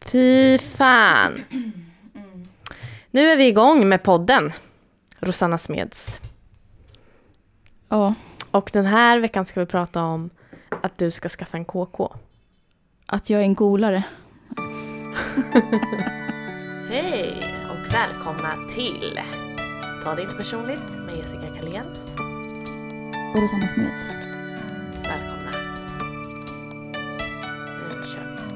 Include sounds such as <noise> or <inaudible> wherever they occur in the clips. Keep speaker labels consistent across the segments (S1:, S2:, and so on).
S1: Fy fan. Nu är vi igång med podden Rosanna Smeds.
S2: Ja,
S1: Och den här veckan ska vi prata om att du ska skaffa en KK.
S2: att jag är en golare.
S1: Hej och välkomna till Ta det inte personligt med Jessica Kalén.
S2: Och Rosanna Smeds.
S1: Välkomna. Nu kör vi.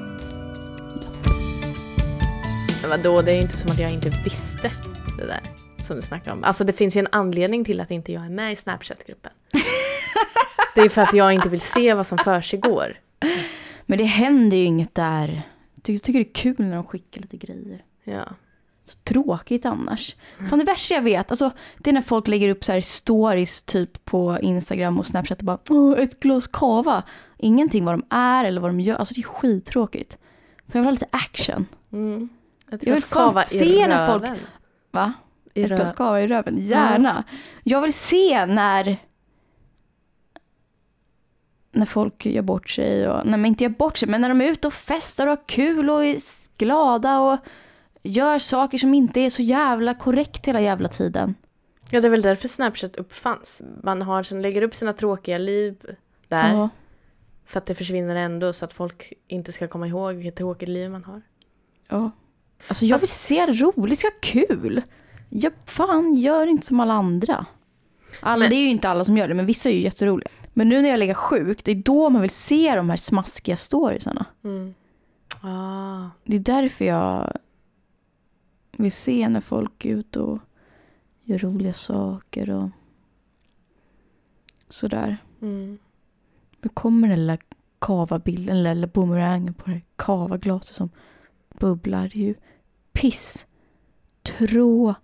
S1: Men vadå, det är ju inte som att jag inte visste det där som du snackar om. Alltså det finns ju en anledning till att inte jag är med i
S2: <laughs>
S1: Snapchat-gruppen. Det är för att jag inte vill se vad som försiggår.
S2: Men det händer ju inget där. Ty tycker det är kul när de skickar lite grejer.
S1: Ja.
S2: Så tråkigt annars. Fan det värsta jag vet, alltså, det är när folk lägger upp så här stories typ på Instagram och Snapchat och bara Åh, ett glas kava. Ingenting vad de är eller vad de gör. Alltså det är skittråkigt. För jag vill ha lite action.
S1: Mm. Ett
S2: Jag vill
S1: glas
S2: fan
S1: kava i
S2: se när folk-
S1: röven.
S2: Va?
S1: I
S2: ett glas
S1: röven.
S2: kava i röven. Gärna. Jag vill se när när folk gör bort sig. Och, nej, men inte gör bort sig, men när de är ute och festar och har kul och är s- glada och gör saker som inte är så jävla korrekt hela jävla tiden.
S1: Ja, det är väl därför Snapchat uppfanns. Man har, sen lägger upp sina tråkiga liv där.
S2: Ja.
S1: För att det försvinner ändå så att folk inte ska komma ihåg vilket tråkigt liv man har.
S2: ja. Alltså jag vill
S1: Fast-
S2: se det roligt, ska ha kul. Ja, fan, gör inte som alla andra. Alla,
S1: Men-
S2: Det är ju inte alla som gör det, men vissa är ju jätteroliga. Men nu när jag lägger sjuk, det är då man vill se de här smaskiga storiesarna.
S1: Mm. Ah.
S2: Det är därför jag vill se när folk är ute och gör roliga saker och sådär.
S1: Mm.
S2: Nu kommer den lilla kavabilden, den lilla boomerangen på det här kavaglaset som bubblar. Det är ju piss. Tråkigt.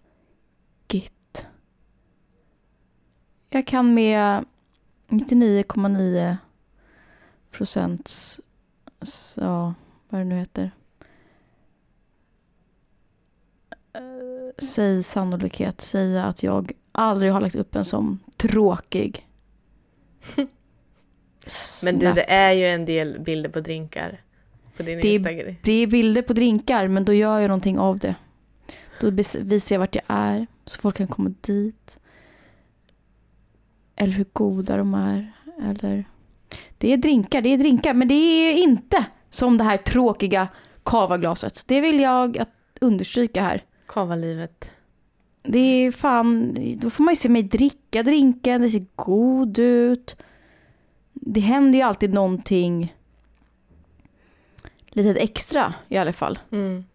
S2: Jag kan med 99,9 procents, s- ja, vad det nu heter, Eh, säg sannolikhet säga att jag aldrig har lagt upp en sån tråkig
S1: Men du,
S2: snap.
S1: det är ju en del bilder på drinkar på din
S2: Det är-
S1: Instagram.
S2: Det är bilder på drinkar, men då gör jag någonting av det. Då bes- visar jag vart jag är, så folk kan komma dit. Eller hur goda de är. Eller... Det är drinkar, det är drinkar, men det är ju inte som det här tråkiga kavaglaset. Det vill jag att understryka här.
S1: Kavalivet.
S2: Det är fan, då får man ju se mig dricka drinken, det ser god ut. Det händer ju alltid någonting litet extra i alla fall.
S1: Mm.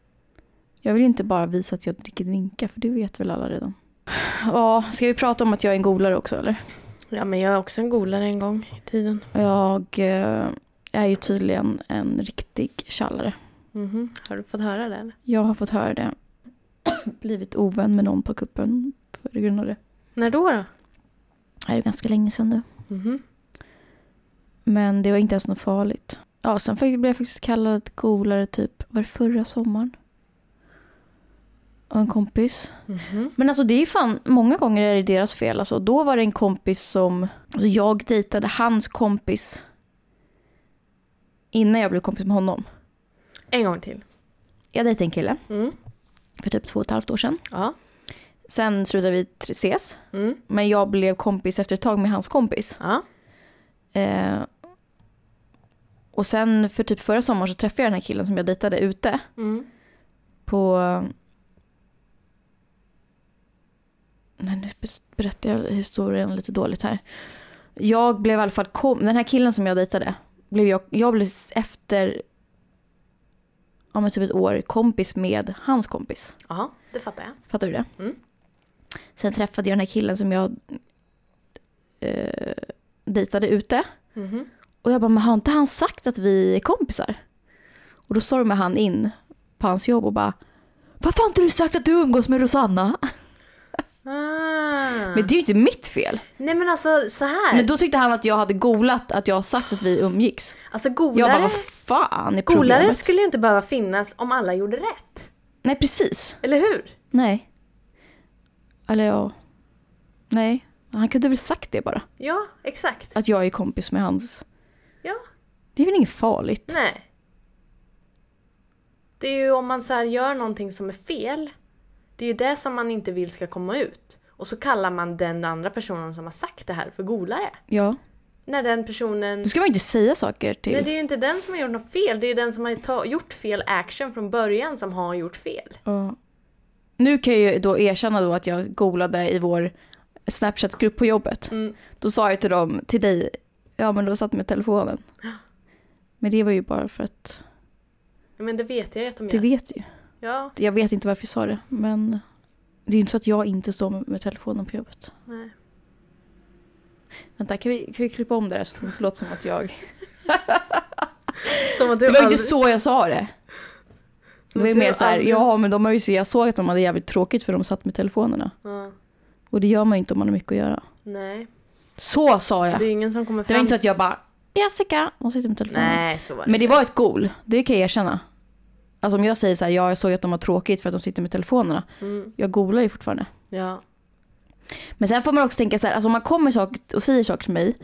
S2: Jag vill ju inte bara visa att jag dricker drinkar, för det vet väl alla redan. <sighs> Ja, ska vi prata om att jag är en golare också eller?
S1: Ja, men jag är också en golare en gång i tiden.
S2: Jag eh, är ju tydligen en riktig tjallare.
S1: Mhm. Har du fått höra det? eller?
S2: Jag har fått höra det. <clears throat> Blivit ovän med någon på kuppen på grund av det.
S1: När då? då?
S2: Det är ju ganska länge sedan nu.
S1: Mhm.
S2: Men det var inte ens något farligt. Ja, sen fick- blev jag faktiskt kallad golare typ, var det förra sommaren? Av en kompis.
S1: Mhm.
S2: Men alltså det är fan, många gånger är det deras fel. Alltså, då var det en kompis som, alltså jag dejtade hans kompis innan jag blev kompis med honom.
S1: En gång till.
S2: Jag dejtade en kille
S1: Mm.
S2: för typ två och ett halvt år sedan.
S1: Ja.
S2: Sen slutade vi tr- ses,
S1: Mm.
S2: men jag blev kompis efter ett tag med hans kompis.
S1: ja.
S2: Eh, och sen för typ förra sommaren så träffade jag den här killen som jag dejtade ute
S1: Mm.
S2: på... Nej, nu bes- berättar jag historien lite dåligt här. Jag blev i alla fall... Kom... Den här killen som jag dejtade, blev jag, jag blev efter ja, men typ ett år kompis med hans kompis.
S1: Ja, det fattar jag.
S2: Fattar du det?
S1: Mm.
S2: Sen träffade jag den här killen som jag eh, dejtade ute.
S1: Mhm.
S2: Och jag bara, men har inte han sagt att vi är kompisar? Och då stormar han in på hans jobb och bara, varför har inte du sagt att du umgås med
S1: Mm.
S2: Rosanna?
S1: Ah.
S2: Men det är ju inte mitt fel.
S1: Nej men alltså så här.
S2: Men då tyckte han att jag hade golat att jag har sagt att vi umgicks.
S1: alltså
S2: Jag bara,
S1: golare,
S2: vad fan
S1: golare
S2: är problemet?
S1: skulle ju inte behöva finnas om alla gjorde rätt.
S2: Nej, precis.
S1: Eller hur?
S2: Nej. Eller ja. Nej. Han kunde väl sagt det bara.
S1: Ja, exakt.
S2: Att jag är kompis med hans.
S1: Ja.
S2: Det är väl inget farligt?
S1: Nej. Det är ju om man så här gör någonting som är fel. Det är ju det som man inte vill ska komma ut. Och så kallar man den andra personen som har sagt det här för golare.
S2: Ja.
S1: När den personen...
S2: Då ska man inte säga saker till...
S1: Nej, det är ju inte den som har gjort något fel. Det är den som har ta- gjort fel action från början som har gjort fel.
S2: Ja. Nu kan jag ju då erkänna då att jag golade i vår Snapchat-grupp på jobbet.
S1: Mm.
S2: Då sa jag till dem, till dig, ja men då satt med telefonen. Men det var ju bara för att,
S1: Men det vet jag ju att de
S2: det
S1: gör.
S2: vet ju.
S1: Ja,
S2: Jag vet inte varför jag sa det, men det är ju inte så att jag inte står med, med telefonen på jobbet.
S1: nej.
S2: Vänta, kan vi, kan vi klippa om det här så att det låter som att jag...
S1: Som att
S2: Det var ju inte
S1: aldrig-
S2: så jag sa det. Det var ju
S1: Du
S2: mer så här,
S1: aldrig-
S2: ja men de har ju så, jag såg att de hade jävligt tråkigt för de satt med telefonerna.
S1: Ja,
S2: Och det gör man ju inte om man har mycket att göra.
S1: nej.
S2: Så sa jag!
S1: Det är ju ingen som kommer
S2: Det
S1: fram.
S2: var inte så att jag bara Jessica, hon sitter med telefonen.
S1: Nej, så var det.
S2: Men det var ett gol, det kan jag erkänna. Alltså om jag säger så här, ja, jag såg att de har tråkigt för att de sitter med telefonerna.
S1: Mm,
S2: Jag golar ju fortfarande.
S1: ja.
S2: Men sen får man också tänka så här, alltså om man kommer sak och säger saker till mig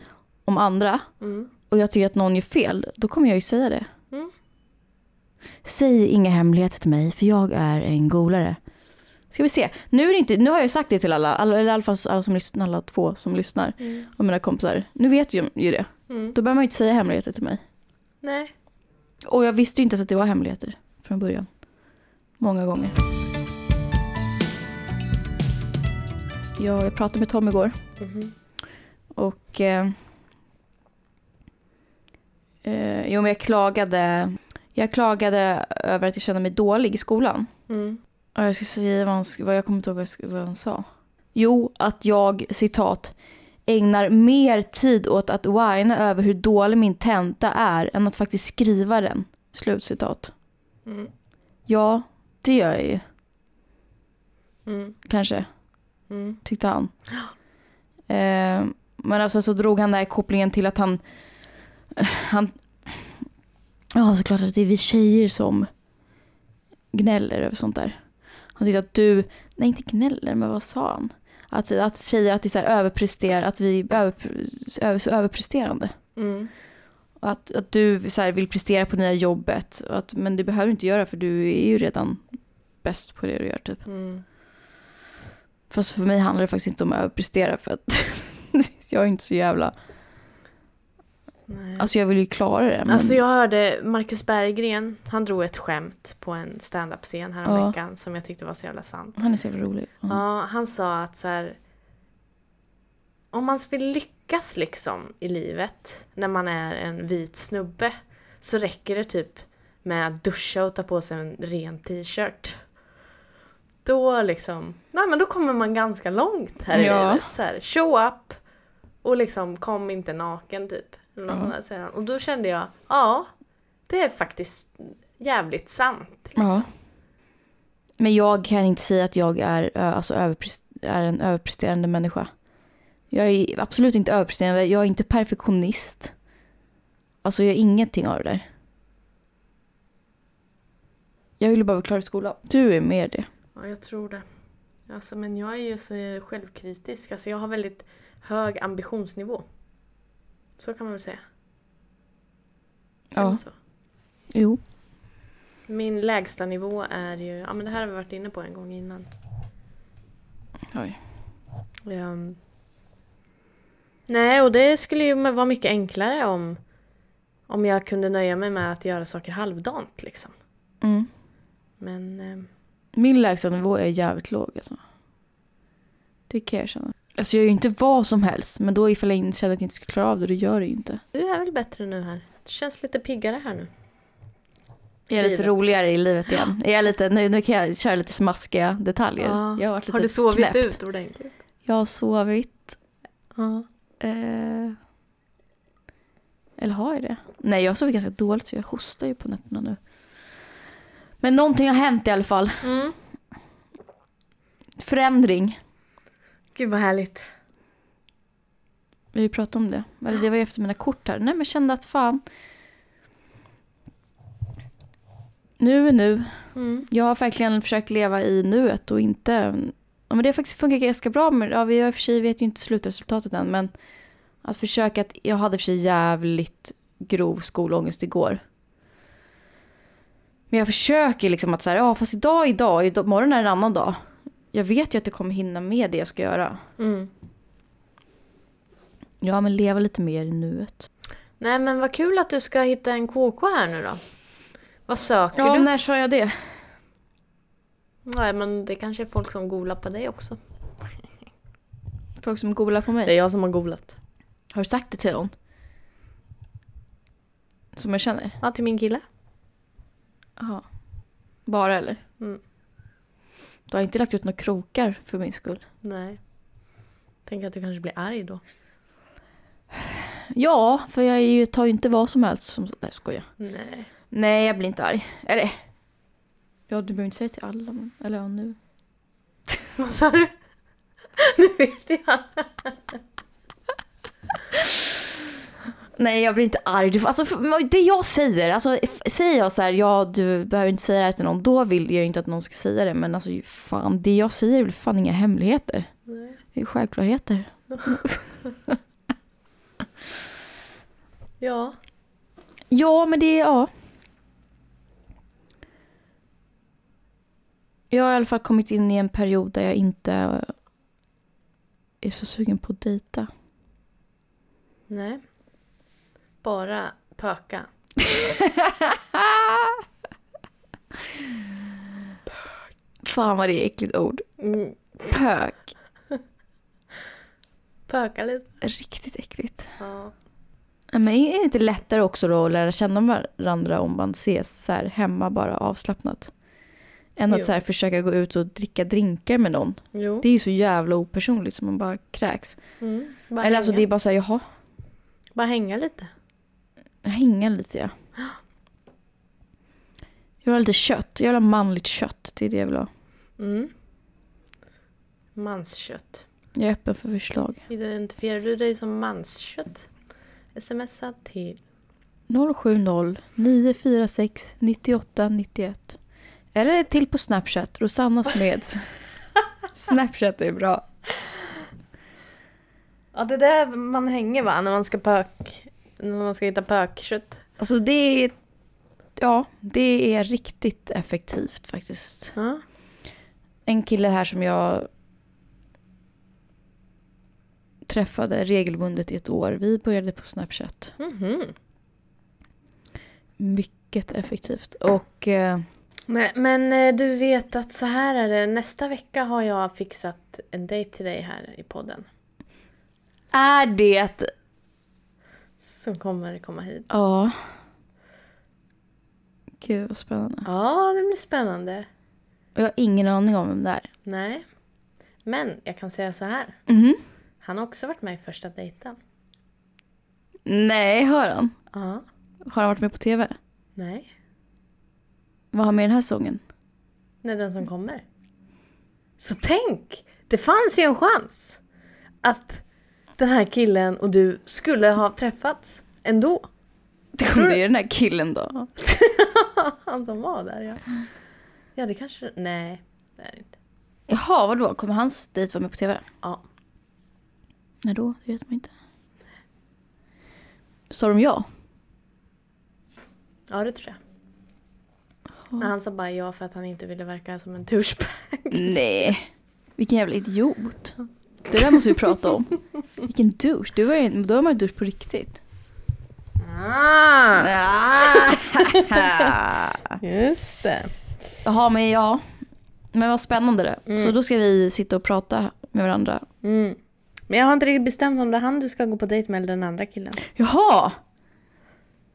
S2: om andra
S1: Mm.
S2: och jag tycker att någon gör fel, då kommer jag ju säga det.
S1: Mm.
S2: Säg inga hemligheter till mig för jag är en golare. Ska vi se, nu, är det inte, nu har jag sagt det till alla, alla eller i alla fall alla som lyssnar, alla två som lyssnar
S1: Mm.
S2: och mina kompisar. Nu vet ju, ju det.
S1: Mm.
S2: Då behöver man ju inte säga hemligheter till mig.
S1: Nej.
S2: Och jag visste ju inte ens att det var hemligheter från början. Många gånger. Ja, jag pratade med Tom igår
S1: Mhm.
S2: och... Eh, eh, jo, men jag klagade, jag klagade över att jag kände mig dålig i skolan.
S1: Mm.
S2: Och jag ska säga vad, han, sk- vad jag kommer inte ihåg vad, jag, sk- vad han sa. Jo, att jag, citat, ägnar mer tid åt att whina över hur dålig min tenta är än att faktiskt skriva den. Slutcitat.
S1: Mm.
S2: Ja, det gör jag ju.
S1: Mm.
S2: Kanske,
S1: Mm.
S2: tyckte han. Eh, men alltså så drog han den här kopplingen till att han... han ja, såklart att det är vi tjejer som gnäller över sånt där. Han tyckte att du... Nej, inte gnäller, men vad sa han? Att, att tjejer att det är så här överpresterar, att vi är över, över, så överpresterande.
S1: Mm.
S2: Och att, att du så här, vill prestera på nya jobbet. Och att, men det behöver du inte göra för du är ju redan bäst på det du gör typ.
S1: Mm.
S2: Fast för mig handlar det faktiskt inte om att överprestera för att <laughs> jag är inte så jävla...
S1: Mm. Nej.
S2: Alltså jag vill ju klara det. Men...
S1: Alltså jag hörde Marcus Berggren, han drog ett skämt på en standup-scen häromveckan som jag tyckte var så jävla sant.
S2: Han är så jävla rolig. Ja.
S1: Ja, han sa att så här, om man vill lyckas liksom i livet när man är en vit snubbe så räcker det typ med att duscha och ta på sig en ren t-shirt. Då liksom, nej men då kommer man ganska långt här i
S2: Ja.
S1: livet. Så här, show up och liksom kom inte naken typ. Eller något
S2: Ja.
S1: sånt där, säger han. Och då kände jag, ja det är faktiskt jävligt sant. Liksom.
S2: Ja. Men jag kan inte säga att jag är, ö, alltså, överpres- är en överpresterande människa. Jag är absolut inte överpresterande, jag är inte perfektionist. Alltså jag är ingenting av det där. Jag ville bara vara klar i skolan. Du är mer det.
S1: Ja, jag tror det. Alltså, men jag är ju så självkritisk. Alltså, jag har väldigt hög ambitionsnivå. Så kan man väl säga. Säger
S2: Ja.
S1: man Så.
S2: Jo.
S1: Min lägsta nivå är ju... Ja, men det här har vi varit inne på en gång innan.
S2: Oj.
S1: Ehm, nej, och det skulle ju vara mycket enklare om, om jag kunde nöja mig med att göra saker halvdant. Liksom.
S2: Mm.
S1: Men ehm,
S2: Min lägstanivå är jävligt låg alltså. Det kan jag känna. Alltså jag är ju inte vad som helst, men då ifall jag in- känner att jag inte skulle klara av det, då gör jag det ju inte.
S1: du är väl bättre nu här? Det känns lite piggare här nu.
S2: Jag är lite
S1: Livet.
S2: roligare i
S1: <gasps>
S2: livet igen. Jag är lite, nu, nu kan jag köra lite smaskiga detaljer.
S1: Ja.
S2: Jag har, varit lite
S1: Har du sovit
S2: knäppt.
S1: ut ordentligt?
S2: Jag har sovit.
S1: Ja.
S2: Eh... Eller har jag det? Nej, jag sover ganska dåligt för jag hostar ju på nätterna nu. Men någonting har hänt i alla fall.
S1: Mm.
S2: Förändring.
S1: Gud vad härligt.
S2: Vi har ju pratat om det. Eller det var ju efter mina kort här. Nej, men jag kände att fan. Nu är nu.
S1: Mm.
S2: Jag har verkligen försökt leva i nuet och inte... Ja, men det har faktiskt funkat ganska bra. Men, ja, vi har i och för sig vet ju inte slutresultatet än. Men att försöka... Att, jag hade i och för sig jävligt grov skolångest igår. Men jag försöker liksom att så här, ja fast idag är idag, idag- imorgon är en annan dag. Jag vet ju att jag kommer hinna med det jag ska göra.
S1: Mm.
S2: Ja men leva lite mer i nuet.
S1: Nej men vad kul att du ska hitta en KK här nu då. Vad söker
S2: Ja,
S1: du?
S2: när sa jag det?
S1: Nej men det kanske är folk som googlar på dig också.
S2: Folk som googlar på mig.
S1: Det är jag som har googlat.
S2: Har du sagt det till någon? Som jag känner?
S1: Ja, till min kille.
S2: Jaha. Bara eller?
S1: Mm.
S2: Du har inte lagt ut några krokar för min skull?
S1: Nej. Tänk att du kanske blir arg då.
S2: Ja, för jag är ju, tar ju inte vad som helst som... Nej, skojar.
S1: Nej. <laughs>
S2: Nej, jag blir inte arg. Eller? Ja, du behöver inte säga till alla. Men, eller ja, nu.
S1: Vad sa du? <laughs> Nu vet jag.
S2: Nej, jag blir inte arg. Du, får- alltså, för, det jag säger, alltså, f- säger jag så här, ja du behöver inte säga det här till någon, då vill jag ju inte att någon ska säga det. Men alltså, fan, det jag säger är väl fan inga hemligheter.
S1: Nej.
S2: Det är ju självklarheter.
S1: Ja.
S2: Ja, men det är... Ja. Jag har i alla fall kommit in i en period där jag inte är så sugen på att dejta.
S1: Nej. Bara pöka.
S2: Fan vad det är äckligt ord.
S1: Mm.
S2: Pök.
S1: Pöka lite.
S2: Riktigt äckligt.
S1: Ja.
S2: Nej, Men är det inte lättare också då att lära känna varandra om man ses så här hemma bara avslappnat? Än att
S1: Jo.
S2: så här försöka gå ut och dricka drinkar med någon.
S1: Jo.
S2: Det är ju så jävla opersonligt som man bara kräks.
S1: Mm. Bara,
S2: Eller alltså
S1: hänga.
S2: det är bara så här, jaha,
S1: bara hänga lite.
S2: Hänga lite ja. Jag vill ha lite kött. Jag vill ha manligt kött. Det är det jag vill ha.
S1: Mm. Manskött.
S2: Jag är öppen för förslag.
S1: Identifierar du dig som manskött? Smsa till
S2: 070 946 98 91. Eller till på Snapchat. Rosanna <laughs> Smeds. Snapchat är bra.
S1: Ja, det är där man hänger va? När man ska pök... När man ska hitta pökkött.
S2: Alltså det är... Ja, det är riktigt effektivt faktiskt.
S1: Ja.
S2: en kille här som jag träffade regelbundet i ett år. Vi började på Snapchat.
S1: Mhm.
S2: Mycket effektivt. Och eh,
S1: Men, men eh, du vet att så här är det. Nästa vecka har jag fixat en dejt till dig här i podden.
S2: är det...
S1: Som kommer komma hit.
S2: Ja. Gud vad spännande.
S1: Ja, det blir spännande.
S2: Och jag har ingen aning om vem det är.
S1: Nej. Men jag kan säga så här.
S2: Mhm.
S1: Han har också varit med i första dejten.
S2: Nej, hör han?
S1: Ja.
S2: Har han varit med på tv?
S1: Nej.
S2: Vad har han med i den här sången?
S1: Nej, den som kommer. Så tänk! Det fanns ju en chans att den här killen och du skulle ha träffats ändå. <laughs>
S2: Det kommer ju den här killen då.
S1: Han som var där ja. Ja det kanske... Nej, det är det inte.
S2: Jaha, vadå? Kommer hans dejt vara med på tv?
S1: Ja.
S2: När då? Det vet man inte. Sa de ja?
S1: Ja det tror jag.
S2: Ja.
S1: Men han sa bara ja för att han inte ville verka som en douchebag.
S2: Nej. Vilken jävla idiot. Det där måste vi prata om. Vilken douche. Du var ju, en- då var man en douche på riktigt.
S1: Ah, <laughs> just det.
S2: Jaha, men ja. Men vad spännande det.
S1: Mm.
S2: Så då ska vi sitta och prata med varandra.
S1: Mm. Men jag har inte riktigt bestämt om det är han du ska gå på dejt med eller den andra killen.
S2: Jaha!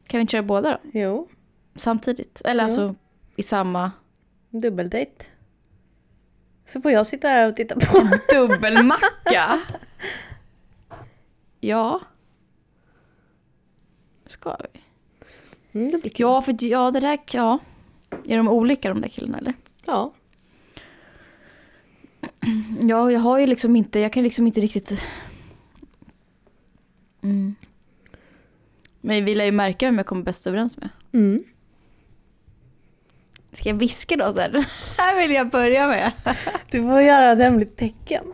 S2: Kan vi inte köra båda då?
S1: Jo,
S2: Samtidigt? Eller
S1: Jo.
S2: alltså i samma
S1: dubbeldejt. Så får jag sitta här och titta på.
S2: dubbelmacka? <laughs> ja. Ska vi?
S1: Mm, det blir kul.
S2: Ja, för ja, det där... Ja. Är de olika de där killarna eller?
S1: Ja.
S2: Ja, jag har ju liksom inte, jag kan liksom inte riktigt... Mm. Men vi lär ju märka vem jag kommer bäst överens med.
S1: Mm.
S2: Ska jag viska då sen? <laughs> Här vill jag börja med.
S1: Du får göra ett hemligt tecken.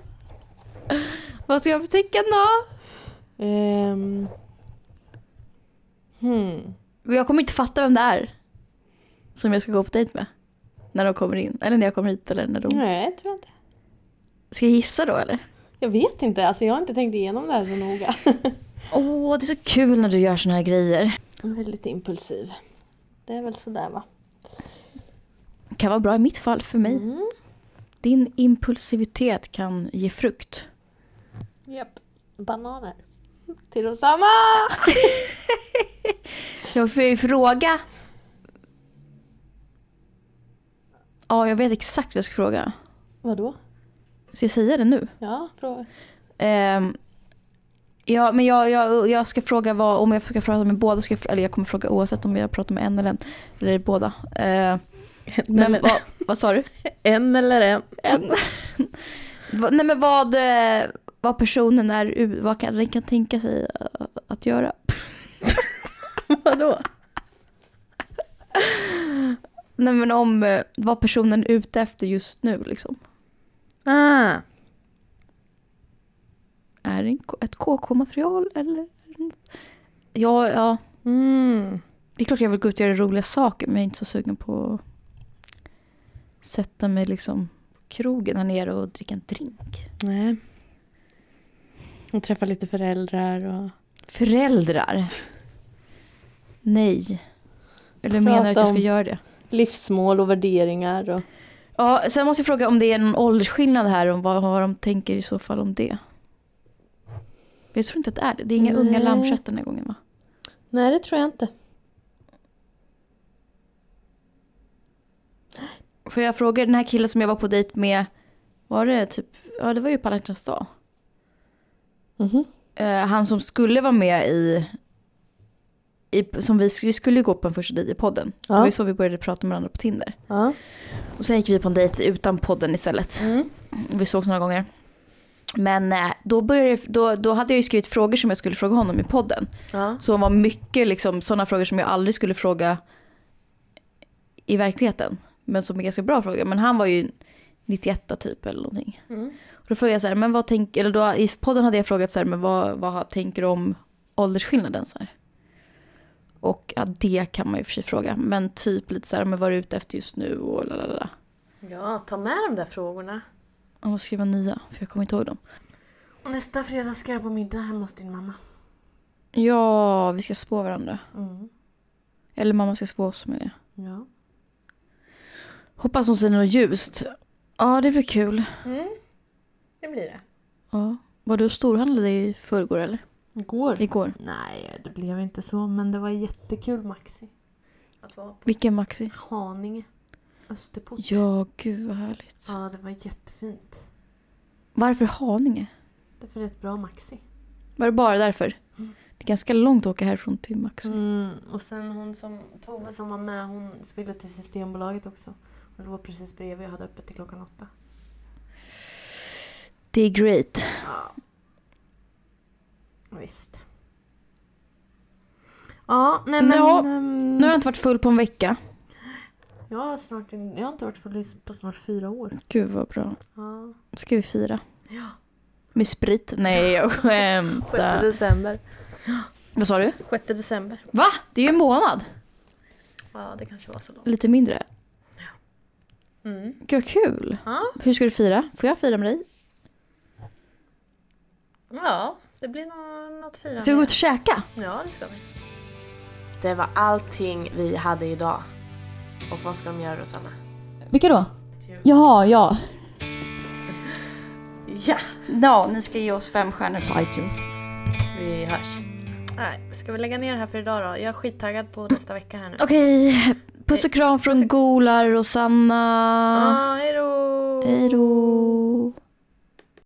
S2: Vad ska jag för tecken då?
S1: Ehm. Hmm.
S3: Hmm.
S2: Men Jag kommer inte fatta vem det är. Som jag ska gå på dejt med. När de kommer in. Eller när jag kommer hit eller när de...
S3: Nej, tror jag inte.
S2: Ska jag gissa då eller?
S3: Jag vet inte, alltså jag har inte tänkt igenom det här så noga. <laughs>
S2: Åh, det är så kul när du gör såna här grejer.
S3: Jag är lite impulsiv. Det är väl sådär va?
S2: Kan vara bra i mitt fall, för mig.
S3: Mm.
S2: Din impulsivitet kan ge frukt. <laughs>
S3: Japp. Bananer. Till Rosanna!
S2: Jag får ju fråga. Ja, jag vet exakt vad jag ska fråga.
S3: Vadå?
S2: Ska jag säga det nu?
S3: Ja, fråga.
S2: Ehm, ja, men jag, jag, jag ska fråga vad, om jag ska prata med båda. Ska jag, fr- eller jag kommer fråga oavsett om jag pratar med en eller en. Eller båda. Ehm, men
S3: eller-
S2: vad, vad sa du?
S3: En eller en.
S2: En. <laughs> Va- Nej men vad, eh, vad personen är, u- vad kan, den kan tänka sig eh, att <laughs> göra.
S3: Vadå?
S2: Nej men om eh, vad personen är ute efter just nu liksom.
S3: Ah.
S2: Är det en K- ett KK-material eller? Ja, ja,
S3: Mm.
S2: det är klart jag vill gå ut och göra roliga saker men jag är inte så sugen på att sätta mig liksom på krogen här nere och dricka en drink.
S3: Nej. Och träffa lite föräldrar och...
S2: Föräldrar? Nej. Eller menar du att jag ska
S3: Prata om-
S2: göra det?
S3: Livsmål och värderingar och...
S2: Ja, sen måste jag fråga om det är någon åldersskillnad här och vad, vad de tänker i så fall om det. Jag tror inte att det är det. Det är inga unga
S3: Nej.
S2: lammkött den här gången va?
S3: Nej, det tror jag inte.
S2: För jag frågar den här killen som jag var på dejt med, var det typ, ja det var ju på alla hjärtans dag.
S3: Mhm.
S2: Eh, han som skulle vara med i, i som vi, sk- vi skulle ju gå på en första dejt i podden.
S3: Ja.
S2: Det var ju så vi började prata med varandra på Tinder.
S3: Ja.
S2: Och sen gick vi på en dejt utan podden istället.
S3: Mm.
S2: Vi sågs några gånger. Men eh, då, började, då, då hade jag ju skrivit frågor som jag skulle fråga honom i podden.
S1: Ja.
S2: Så hon var mycket liksom, sådana frågor som jag aldrig skulle fråga i verkligheten. Men som är ganska bra frågor. Men han var ju 91 typ eller någonting.
S1: Mm.
S2: Och då frågade jag så här, men vad tänker, eller då, i podden hade jag frågat så här, men vad, vad tänker du om åldersskillnaden så här? Och ja, det kan man ju för sig fråga. Men typ lite så här, men vad är du ute efter just nu och lalala.
S1: ja, ta med de där frågorna.
S2: Jag måste skriva nya, för jag kommer inte ihåg dem.
S1: Och nästa fredag ska jag på middag hemma hos din mamma.
S2: Ja, vi ska spå varandra.
S1: Mm.
S2: Eller mamma ska spå oss med det.
S1: Ja.
S2: Hoppas hon säger något ljust. Ja, det blir kul.
S1: Mm. Det blir det.
S2: Ja. Var du och storhandlade i förrgår eller?
S1: Igår?
S2: Igår.
S1: Nej, det blev inte så, men det var jättekul Maxi. Att vara på
S2: Vilken Maxi?
S1: Haninge. Österport.
S2: Ja, gud vad härligt.
S1: Ja, det var jättefint.
S2: Varför Haninge?
S1: Därför är det ett bra Maxi.
S2: Var det bara därför?
S1: Mm.
S2: Det är ganska långt att åka härifrån till Maxi.
S1: Mm, och sen hon som, Tove som var med, hon ville till Systembolaget också. Hon låg precis bredvid och hade öppet till klockan åtta.
S2: Det är great.
S1: Ja. Visst. Ja, nej men...
S2: Ja,
S1: ehm,
S2: Nu har jag inte varit full på en vecka.
S1: jag, har snart, in- jag har inte varit full på snart fyra år.
S2: Gud vad bra.
S1: Ja.
S2: Ska vi fira?
S1: Ja.
S2: Med sprit? <laughs> Nej, jag
S1: 6
S2: skämtar.
S1: december.
S2: Vad sa du?
S1: 6 december.
S2: Va? Det är ju en månad.
S1: Ja, det kanske var så långt.
S2: Lite mindre.
S1: Mm.
S2: Gud vad kul.
S1: Ja.
S2: Hur ska du fira? Får jag fira med dig?
S1: ja, det blir nå- något firande.
S2: Ska vi gå ut och käka?
S1: Ja, det ska vi. Det var allting vi hade idag. Och vad ska de göra Rosanna?
S2: Vilka då? Jaha, ja.
S1: Ja,
S2: Ja, ni ska ge oss fem stjärnor på iTunes.
S1: vi hörs. Nej, ska vi lägga ner det här för idag då? Jag är skittaggad på nästa vecka här nu.
S2: Okej, puss och kram från Golar och Sanna.
S1: Ah, hej då!
S2: Hej då.